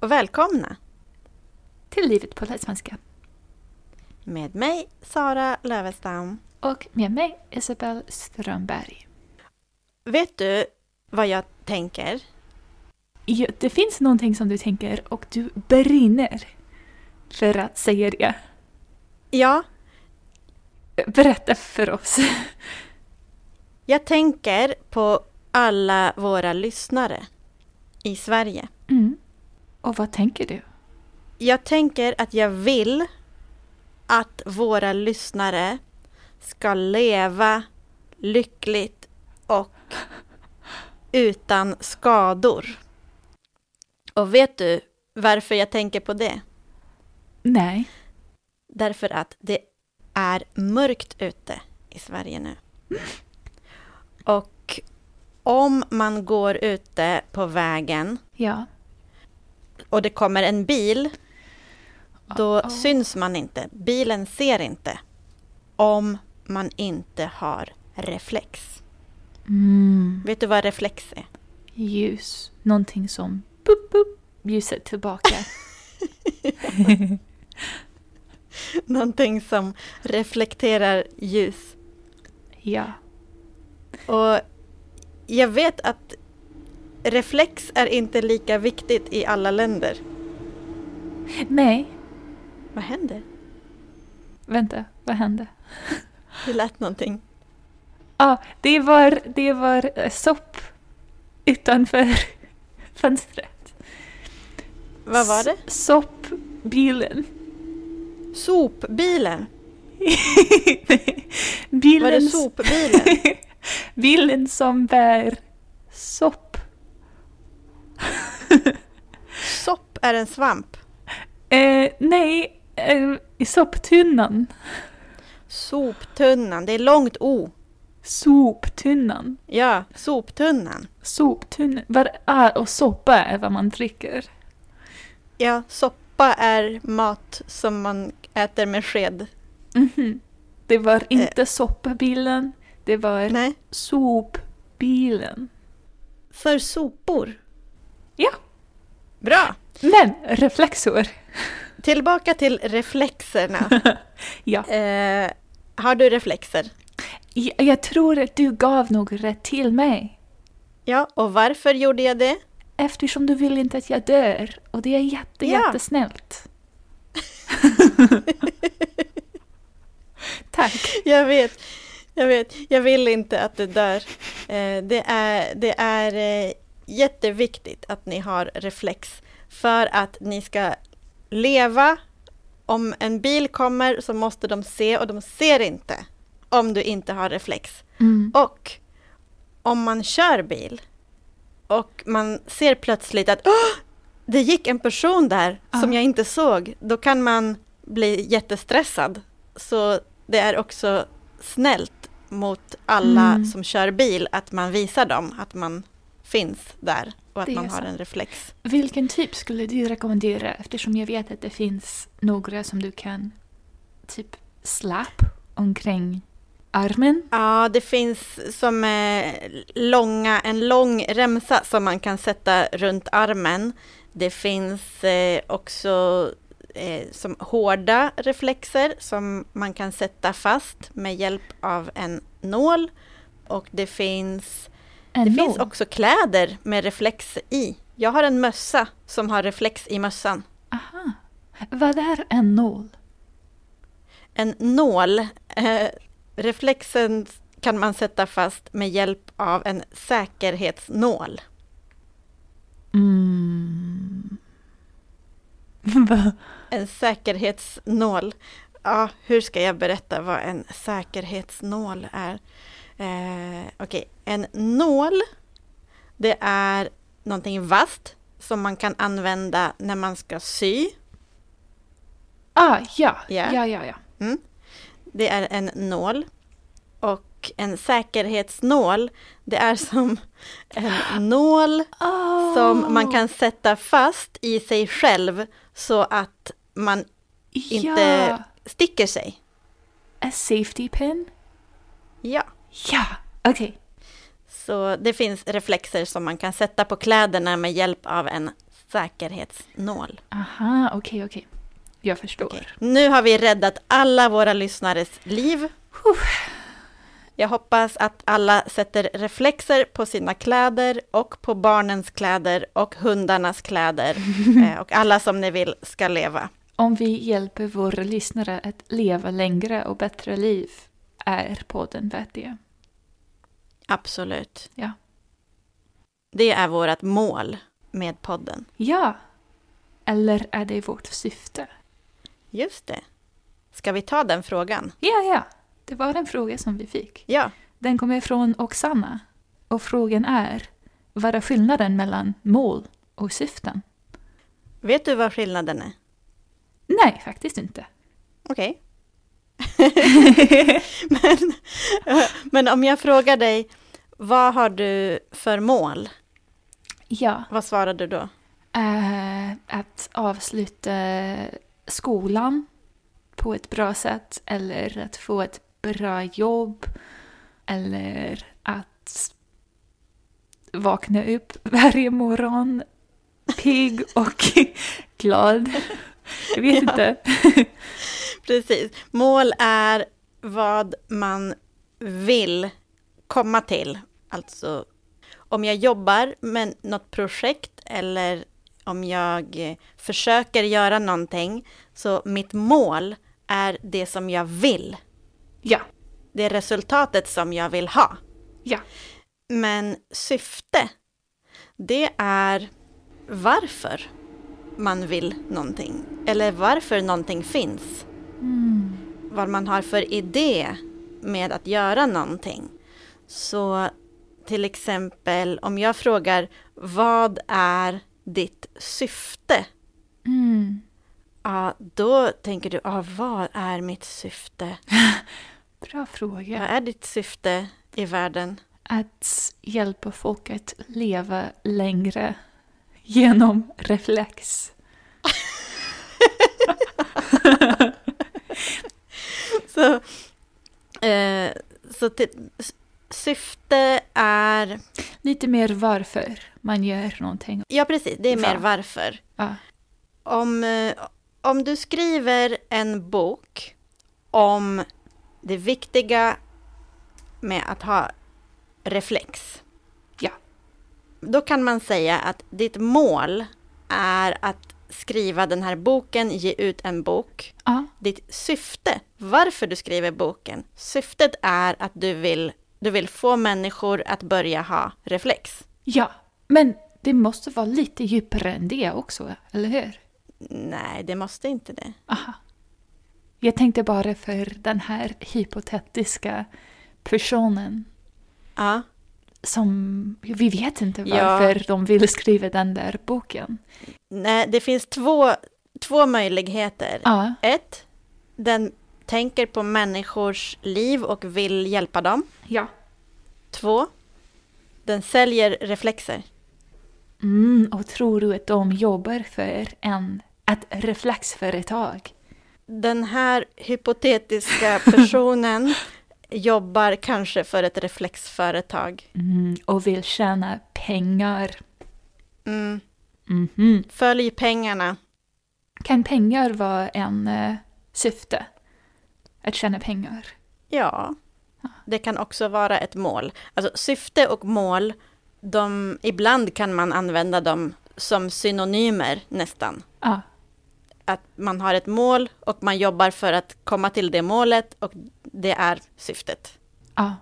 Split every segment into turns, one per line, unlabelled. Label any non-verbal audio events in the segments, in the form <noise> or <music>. och välkomna
till Livet på svenska.
med mig Sara Lövestam.
Och med mig Isabel Strömberg.
Vet du vad jag tänker?
Ja, det finns någonting som du tänker och du brinner för att säga det.
Ja,
Berätta för oss.
jag tänker på alla våra lyssnare i Sverige.
Mm. Och vad tänker du?
Jag tänker att jag vill att våra lyssnare ska leva lyckligt och utan skador. Och vet du varför jag tänker på det?
Nej.
Därför att det är mörkt ute i Sverige nu. Och om man går ute på vägen
Ja.
och det kommer en bil, då
Oh.
syns man inte. Bilen ser inte. Om man inte har reflex.
Mm.
Vet du vad reflex är? <laughs>
Ljus. Någonting som boop, boop, ljuset <laughs> tillbaka.
Någonting som reflekterar ljus.
ja.
Och jag vet att reflex är inte lika viktigt i alla länder.
Nej.
Vad händer?
Vänta, vad hände?
Det lät någonting.
Ja, det var, det var eh, sopp utanför <laughs> fönstret.
Vad var det?
S- Soppbilen.
Sopbilen.
bilen,
Var det
<laughs>
sopbilen?
bilen som bär sopp.
Sopp är en svamp.
Eh, nej, eh, i sopptunnan.
Soptunnan. Det är långt O.
Soptunnan.
Ja, soptunnan.
Soptunnan. Var, ah, och soppa är vad man dricker.
Ja, soppa är mat som man äter med sked.
Mhm. Det var inte soppabilen, det var
Eh. Nej,
sopbilen.
för sopor.
Ja,
Bra!
men reflexor.
Tillbaka till reflexerna.
<laughs> Ja.
eh, har du reflexer?
Jag, jag tror att du gav några till mig.
Ja, och varför gjorde jag det?
Eftersom du vill inte att jag dör. Och det är jätte,
Ja. <laughs>
jättesnällt. Tack.
<laughs> Jag vet, jag vet. Jag vill inte att du dör. Eh, det är, det är eh, jätteviktigt att ni har reflex för att ni ska leva. Om en bil kommer så måste de se och de ser inte om du inte har reflex.
Mm.
Och om man kör bil och man ser plötsligt att "Åh! det gick en person där som
Ja.
jag inte såg, då kan man bli jättestressad. Så det är också snällt mot alla
Mm.
som kör bil att man visar dem att man finns där och att
Det är
man har
sant.
en reflex.
Vilken typ skulle du rekommendera? Eftersom jag vet att det finns några som du kan typ slapp omkring armen.
Ja, det finns som eh, långa, en lång remsa som man kan sätta runt armen. Det finns eh, också eh, som hårda reflexer som man kan sätta fast med hjälp av en nål. Och det finns,
En
det
nål.
finns också kläder med reflex i. Jag har en mössa som har reflex i mössan.
Aha. Vad är en nål?
en nål. Eh, reflexen kan man sätta fast med hjälp av en säkerhetsnål.
Mm. <laughs> Va?
En säkerhetsnål. Ja, hur ska jag berätta vad en säkerhetsnål är? Eh, Okej, en nål, det är någonting vasst som man kan använda när man ska sy.
Ah, ja.
Ja.
Ja, ja, ja.
Det är en nål. Och en säkerhetsnål, det är som en nål
Oh.
som man kan sätta fast i sig själv så att man inte
Ja.
sticker sig.
A safety pin?
Ja,
Ja, okej.
så det finns reflexer som man kan sätta på kläderna med hjälp av en säkerhetsnål.
Aha, okej, okej. Jag förstår.
Okej. Nu har vi räddat alla våra lyssnares liv. Jag hoppas att alla sätter reflexer på sina kläder och på barnens kläder och hundarnas kläder eh, och alla som ni vill ska leva.
Om vi hjälper våra lyssnare att leva längre och bättre liv är podden värd det.
Absolut.
Ja.
Det är vårt mål med podden.
Ja! Eller är det vårt syfte?
Just det. Ska vi ta den frågan?
Ja, ja. Det var en fråga som vi fick.
Ja.
Den kommer från Oksana. Och frågan är, vad är skillnaden mellan mål och syften?
Vet du vad skillnaden är?
Nej, faktiskt inte.
Okej. <laughs> men, <laughs> men om jag frågar dig, vad har du för mål?
Ja,
Vad svarar du då?
eh, att avsluta skolan på ett bra sätt eller att få ett bra jobb eller att vakna upp <laughs> varje morgon pigg och <laughs> glad. Jag vet
Ja.
inte.
Precis. Mål är vad man vill komma till. Alltså, om jag jobbar med något projekt eller om jag eh, försöker göra någonting, så mitt mål är det som jag vill.
Ja,
Det är resultatet som jag vill ha.
ja.
Men syfte, det är varför man vill någonting. Eller varför någonting finns
Mm.
vad man har för idé med att göra någonting. Så till exempel om jag frågar vad är ditt syfte?
Mm.
Ja, då tänker du, ja, vad är mitt syfte?
Bra fråga.
Vad är ditt syfte i världen?
Att hjälpa folk att leva längre genom reflex.
Så, eh, så till, s- syfte är,
Lite mer varför man gör någonting.
ja precis, det är mer
Ja.
varför.
Ja.
Om, eh, om du skriver en bok om det viktiga med att ha reflex.
Ja.
Då kan man säga att ditt mål är att skriva den här boken, ge ut en bok.
ja.
Ditt syfte, varför du skriver boken, syftet är att du vill, du vill få människor att börja ha reflex.
Ja, men det måste vara lite djupare än det också, eller hur?
Nej, det måste inte det.
Aha. Jag tänkte bara för den här hypotetiska personen
Ja,
som vi vet inte
Ja.
varför de vill skriva den där boken.
nej, det finns två, två möjligheter.
Ja,
Ett, den tänker på människors liv och vill hjälpa dem.
ja.
Två, den säljer reflexer.
Mm, och tror du att de jobbar för en, ett reflexföretag?
Den här hypotetiska personen jobbar kanske för ett reflexföretag.
Mm, och vill tjäna pengar?
Mm.
Mhm.
Följ pengarna.
Kan pengar vara en eh, syfte? Att tjäna pengar?
Ja, det kan också vara ett mål. Alltså syfte och mål, de, ibland kan man använda dem som synonymer nästan.
Ja,
att man har ett mål och man jobbar för att komma till det målet och det är syftet.
ja.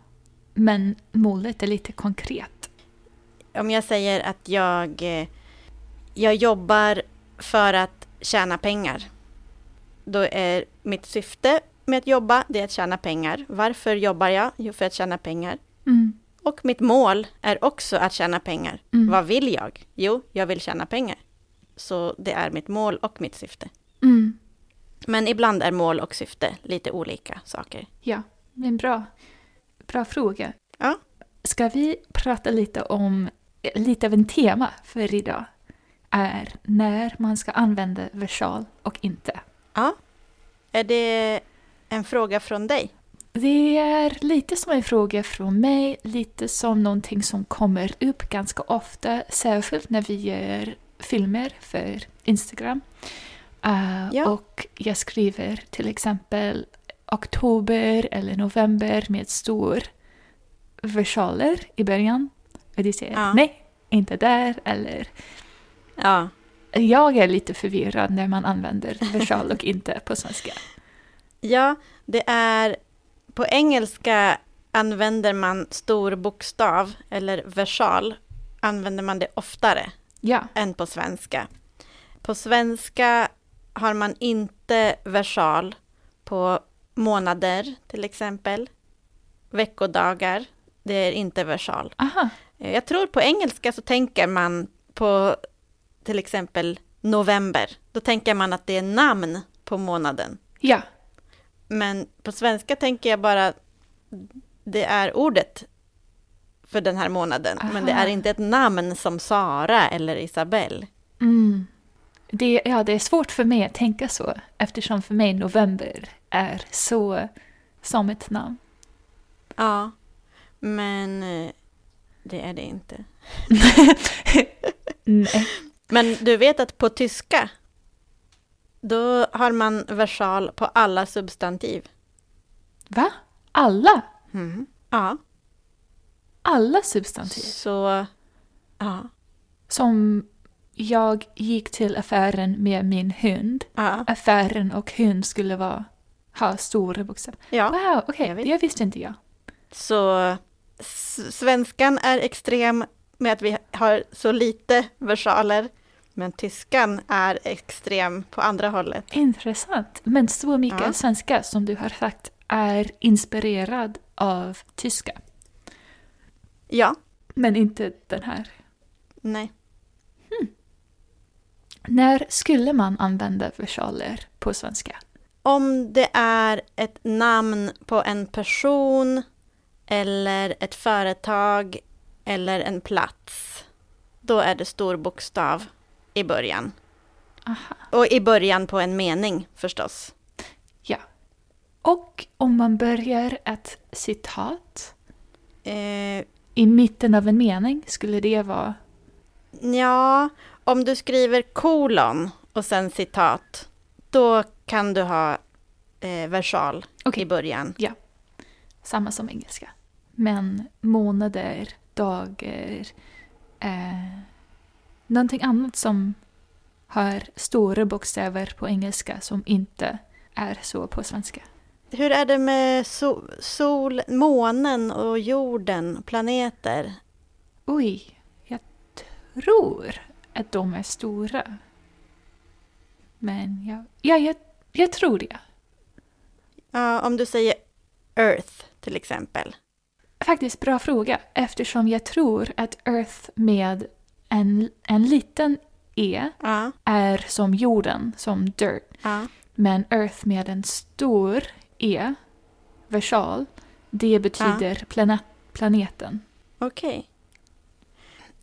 Men målet är lite konkret.
Om jag säger att jag, eh, jag jobbar för att tjäna pengar, då är mitt syfte med att jobba det är att tjäna pengar. Varför jobbar jag? Jo, för att tjäna pengar.
Mm,
Och mitt mål är också att tjäna pengar.
Mm.
Vad vill jag? Jo, jag vill tjäna pengar. Så det är mitt mål och mitt syfte.
mm,
Men ibland är mål och syfte lite olika saker.
ja. En bra, bra fråga.
Ja.
Ska vi prata lite om, eh, lite av en tema för idag? Är när man ska använda versal och inte.
Är det en fråga från dig?
Det är lite som en fråga från mig, lite som någonting som kommer upp ganska ofta, särskilt när vi gör filmer för Instagram. Eh,
Ja.
Och jag skriver till exempel oktober eller november med stor versaler i början. Och de säger
Ja.
nej, inte där eller
Ja,
jag är lite förvirrad när man använder versal och inte på svenska.
ja det är... På engelska använder man stor bokstav, eller versal, använder man det oftare.
Ja,
än på svenska. På svenska har man inte versal på månader till exempel. Veckodagar, det är inte versal.
aha,
Eh, Jag tror på engelska så tänker man på till exempel november. Då tänker man att det är namn på månaden.
ja,
Men på svenska tänker jag bara det är ordet för den här månaden. Men det
Aha.
är inte ett namn som Sara eller Isabelle.
Mm. Det, ja, det är svårt för mig att tänka så eftersom för mig november är så som ett namn.
Ja, men eh, det är det inte.
Nej.
Men du vet att på tyska, då har man versal på alla substantiv.
Va? Alla?
Ja,
Alla substantiv?
så... Ja,
Som jag gick till affären med min hund.
ja,
Affären och hund skulle vara, ha stora bokstäver.
ja.
Wow, okej,
jag vet.
det visste inte jag.
Så s- svenskan är extrem med att vi har så lite versaler, men tyskan är extrem på andra hållet.
Intressant. Men så mycket
Ja.
svenska som du har sagt är inspirerad av tyska.
Ja,
Men inte den här.
nej.
När skulle man använda versaler på svenska?
Om det är ett namn på en person eller ett företag eller en plats, då är det stor bokstav i början.
Aha.
Och i början på en mening förstås.
Och om man börjar ett citat
Eh,
i mitten av en mening, skulle det vara...
ja, om du skriver kolon och sen citat, då kan du ha eh, versal i
Okej,
början.
samma som engelska. Men månader, dagar, eh, någonting annat som har stora bokstäver på engelska som inte är så på svenska.
Hur är det med so- sol, månen och jorden, planeter?
Oj, jag tror att de är stora. Men jag, ja, jag, jag tror det.
Ja, om du säger Earth till exempel.
Faktiskt bra fråga eftersom jag tror att Earth med en, en liten E
Ja,
är som jorden, som dirt.
ja,
Men Earth med en stor E, versal, det betyder plana- planeten.
okej.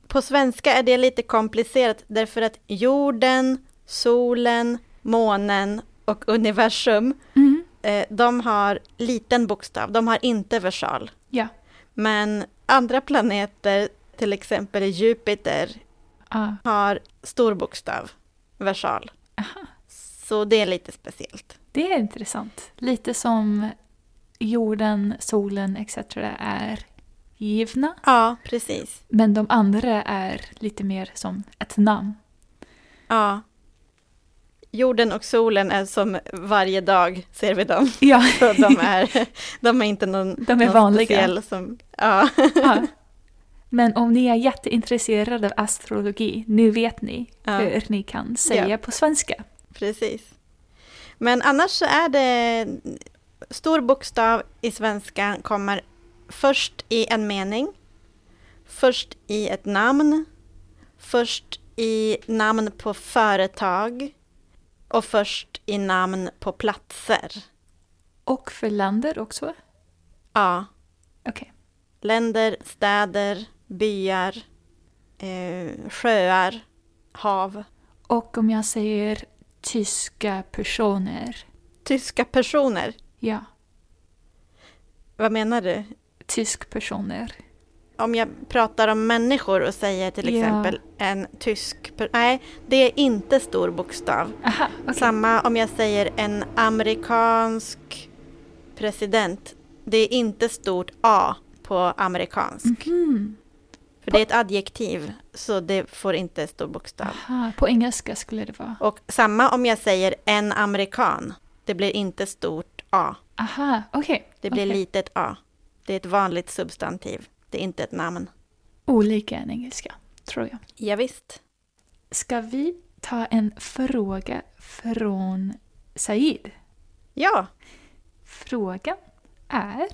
På svenska är det lite komplicerat därför att jorden, solen, månen och universum,
Mm.
eh, de har liten bokstav, de har inte versal.
Ja.
Men andra planeter, till exempel Jupiter,
Ah,
har stor bokstav, versal.
aha.
Så det är lite speciellt.
Det är intressant. Lite som jorden, solen etc. är givna.
Ja, precis.
Men de andra är lite mer som ett namn.
Ja. Jorden och solen är som varje dag ser vi dem.
<laughs> Ja,
Så de är, de är inte någon,
De är
någon
vanliga.
speciell som... Ja.
<laughs> ja. Men om ni är jätteintresserade av astrologi, nu vet ni
<laughs> Ja.
hur ni kan säga
Ja.
på svenska.
Precis. Men annars så är det stor bokstav i svenskan kommer först i en mening, först i ett namn, först i namn på företag och först i namn på platser.
Och för länder också.
Ja,
Okej.
länder, städer, byar, eh, sjöar, hav.
Och om jag säger tyska personer.
Tyska personer,
Ja,
vad menar du?
tysk personer.
om jag pratar om människor och säger till
Ja.
exempel en tysk... per- Nej, det är inte stor bokstav.
Aha, okej.
Samma om jag säger en amerikansk president. Det är inte stort A på amerikansk.
Mhm.
För det är ett adjektiv, så det får inte stor bokstav.
Aha, på engelska skulle det vara.
Och samma om jag säger en amerikan. Det blir inte stort A.
Aha, okej.
Det blir
Okej.
litet A. Det är ett vanligt substantiv. Det är inte ett namn.
Olika än engelska, tror jag.
Ja, visst.
Ska vi ta en fråga från Said?
Ja,
Frågan är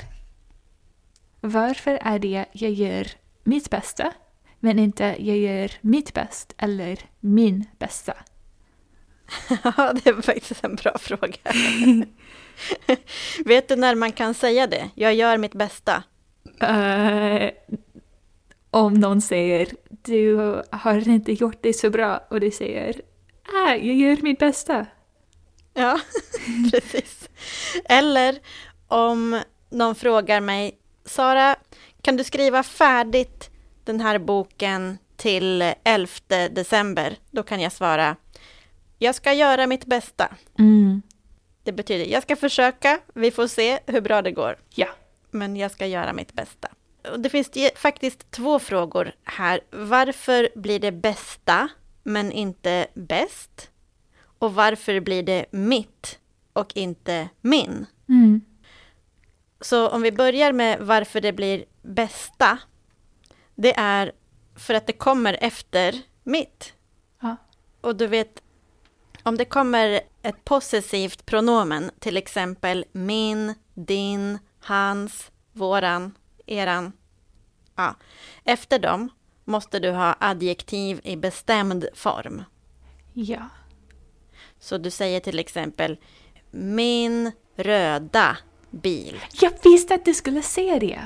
Varför är det jag gör mitt bästa men inte jag gör mitt bäst eller min bästa?
<laughs> Ja, det är faktiskt en bra fråga. <laughs> Vet du när man kan säga det? Jag gör mitt bästa.
Eh, om någon säger du har inte gjort det så bra och du säger ah, jag gör mitt bästa.
Ja, <laughs> precis. Eller om någon frågar mig, Sara, kan du skriva färdigt den här boken till 11 december? Då kan jag svara, jag ska göra mitt bästa. Det betyder, jag ska försöka, vi får se hur bra det går.
Ja.
men jag ska göra mitt bästa. Och det finns ju faktiskt två frågor här. Varför blir det bästa, men inte bäst? Och varför blir det mitt och inte min?
Mm.
Så om vi börjar med varför det blir bästa, det är för att det kommer efter mitt.
Ja.
Och du vet, om det kommer ett possessivt pronomen, till exempel min, din, hans, våran, eran. Ja. Efter dem måste du ha adjektiv i bestämd form.
Ja.
Så du säger till exempel min röda bil.
Jag visste att du skulle se det.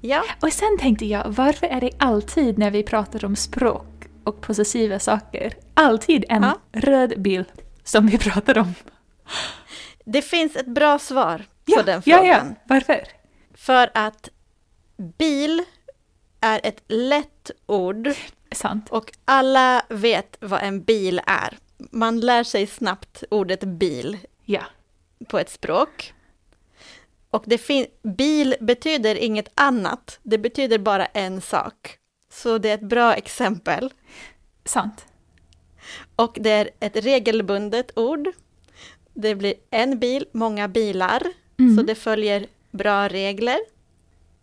Ja.
Och sen tänkte jag, varför är det alltid när vi pratar om språk och possessiva saker, alltid en
Ja.
röd bil som vi pratar om?
Det finns ett bra svar på den
ja,
frågan.
ja, varför?
För att bil är ett lätt ord
Sant.
och alla vet vad en bil är. Man lär sig snabbt ordet bil
Ja.
på ett språk. Och det fin- bil betyder inget annat, det betyder bara en sak. Så det är ett bra exempel.
Sant.
Och det är ett regelbundet ord. Det blir en bil, många bilar.
Mm.
Så det följer bra regler.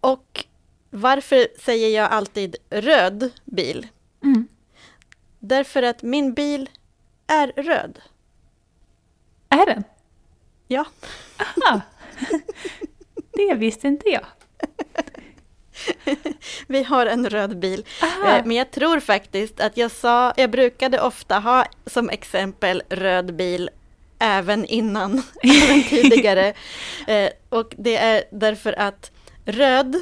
Och varför säger jag alltid röd bil?
Mm.
Därför att min bil är röd.
Är den?
Ja,
Aha. <laughs> det visste inte jag.
vi har en röd bil.
Aha.
Eh, Men jag tror faktiskt att jag sa, jag brukade ofta ha som exempel röd bil även innan, <laughs> även tidigare. Eh, Och det är därför att röd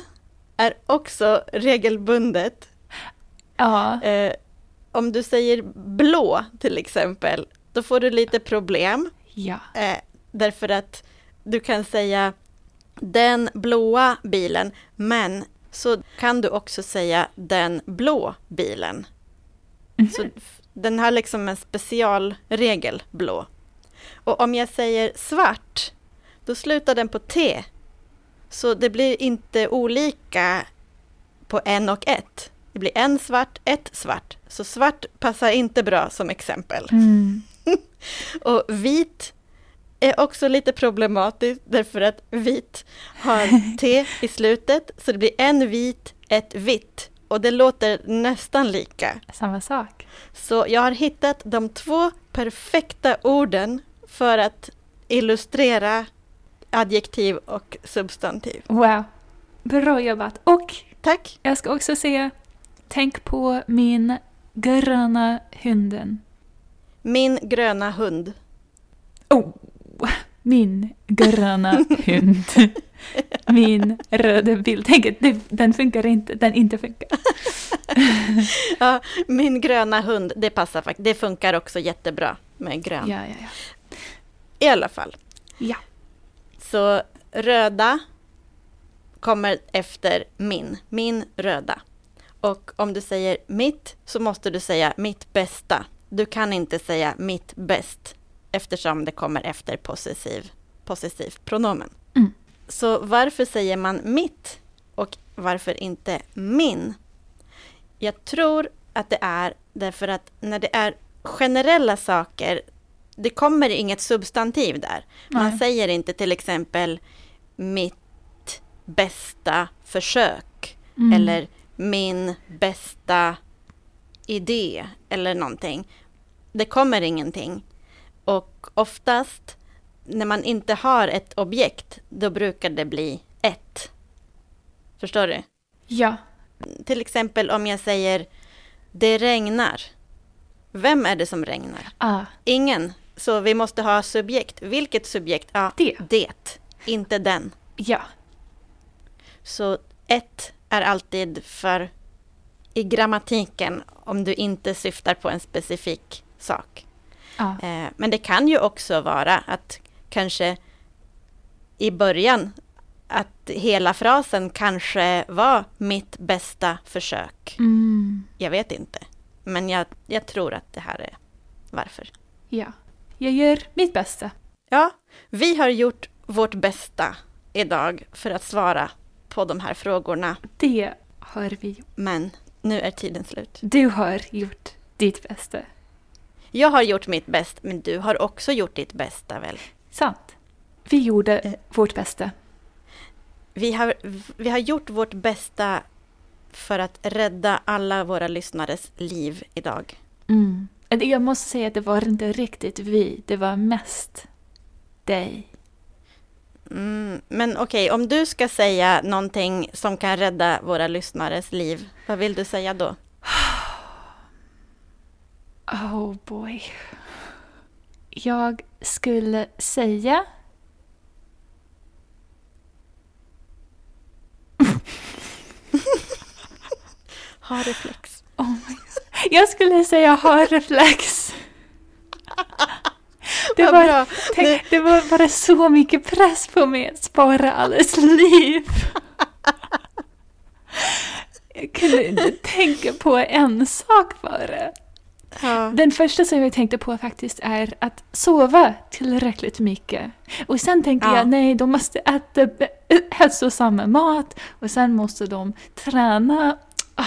är också regelbundet.
Ja.
Eh, Om du säger blå till exempel, då får du lite problem.
Ja.
Eh, därför att du kan säga den blåa bilen, men så kan du också säga den blå bilen.
Mhm.
Så f- den har liksom en specialregel, blå. Och om jag säger svart, då slutar den på T. Så det blir inte olika på en och ett. Det blir en svart, ett svart. Så svart passar inte bra som exempel.
Mm.
Och vit är också lite problematiskt därför att vit har T i slutet så det blir en vit, ett vitt och det låter nästan lika.
Samma sak.
Så jag har hittat de två perfekta orden för att illustrera adjektiv och substantiv.
Wow. Bra jobbat. Och
Tack!
jag ska också säga, tänk på min gröna hunden.
Min gröna hund.
Oh, min
<laughs>
gröna hund. Min röda bil. Tänk, att det- den funkar inte. Den inte funkar.
Ja, min gröna hund, det passar faktiskt. Det funkar också jättebra med grön.
Ja, ja, ja.
I alla fall.
Ja.
Så röda kommer efter min, min röda. Och om du säger mitt så måste du säga mitt bästa. Du kan inte säga mitt bäst eftersom det kommer efter possessiv, possessiv pronomen.
Mm.
Så varför säger man mitt och varför inte min? Jag tror att det är därför att när det är generella saker, det kommer inget substantiv där. Man
Nej.
säger inte till exempel mitt bästa försök
Mm.
eller min bästa idé eller någonting. Det kommer ingenting. Och oftast när man inte har ett objekt, då brukar det bli ett. Förstår du?
Ja.
Till exempel om jag säger det regnar. Vem är det som regnar?
Ah,
Ingen. Så vi måste ha subjekt. Vilket subjekt? Ja,
det.
det. Inte den.
Ja.
Så ett är alltid för i grammatiken om du inte syftar på en specifik sak.
Ah.
Eh, men det kan ju också vara att kanske i början att hela frasen kanske var mitt bästa försök.
Mm.
Jag vet inte. Men jag, jag tror att det här är varför.
Ja. Jag gör mitt bästa.
Ja, vi har gjort vårt bästa idag för att svara på de här frågorna.
Det har vi gjort.
Men nu är tiden slut.
Du har gjort ditt bästa.
Jag har gjort mitt bäst, men du har också gjort ditt bästa väl?
Sant. Vi gjorde
Eh.
vårt bästa.
Vi har, vi har gjort vårt bästa för att rädda alla våra lyssnares liv idag.
Mm. Men Jag måste säga att det var inte riktigt vi, det var mest dig.
Mm, men okej, om du ska säga någonting som kan rädda våra lyssnares liv, vad vill du säga då?
Oh boy. Jag skulle säga...
Ha reflex.
Oh my God. Jag skulle säga ha reflex. Det
Vad
var,
bra.
tänk, det var bara så mycket press på mig att spara alles liv. Jag kunde inte tänka på en sak bara.
Ja.
Den första som jag tänkte på faktiskt är att sova tillräckligt mycket. Och sen tänkte
Ja.
jag, nej, de måste äta b- <clears throat> hälsosamma mat och sen måste de träna. Ah.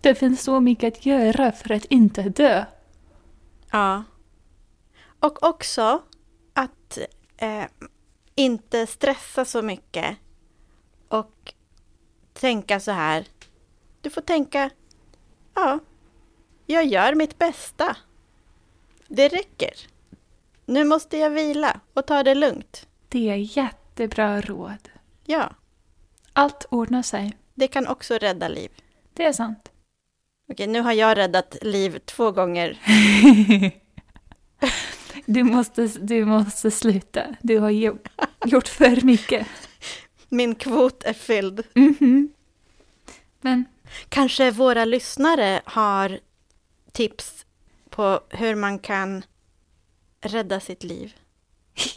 Det finns så mycket att göra för att inte dö.
ja. Och också att eh, inte stressa så mycket och tänka så här. Du får tänka, ja, jag gör mitt bästa. Det räcker. Nu måste jag vila och ta det lugnt.
Det är jättebra råd.
Ja,
Allt ordnar sig.
det kan också rädda liv.
Det är sant.
Okej, nu har jag räddat liv två gånger.
Du måste, du måste sluta. Du har ju- gjort för mycket.
Min kvot är fylld.
Mhm. Men <laughs>
Kanske våra lyssnare har tips på hur man kan rädda sitt liv.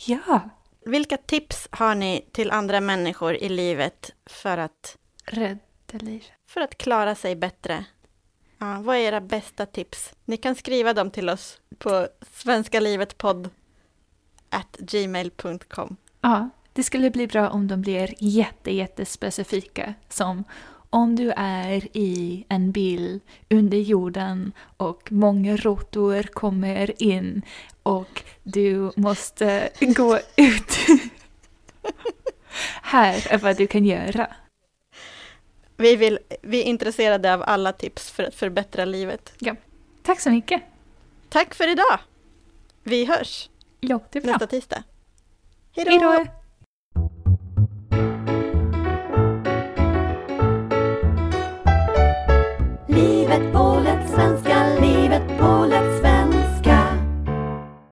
ja,
Vilka tips har ni till andra människor i livet för att,
rädda liv.
för att klara sig bättre? Ja, vad är era bästa tips? Ni kan skriva dem till oss på svenskalivetpodd gmail.com.
Ja, det skulle bli bra om de blir jätte, jättespecifika. Som om du är i en bil under jorden och många råttor kommer in och du måste gå ut. <laughs> Här är vad du kan göra.
Vi, vill, vi är intresserade av alla tips för att förbättra livet.
Tack så mycket.
Tack för idag! Vi hörs
Låter bra.
nästa tisdag. Hej
Hej då!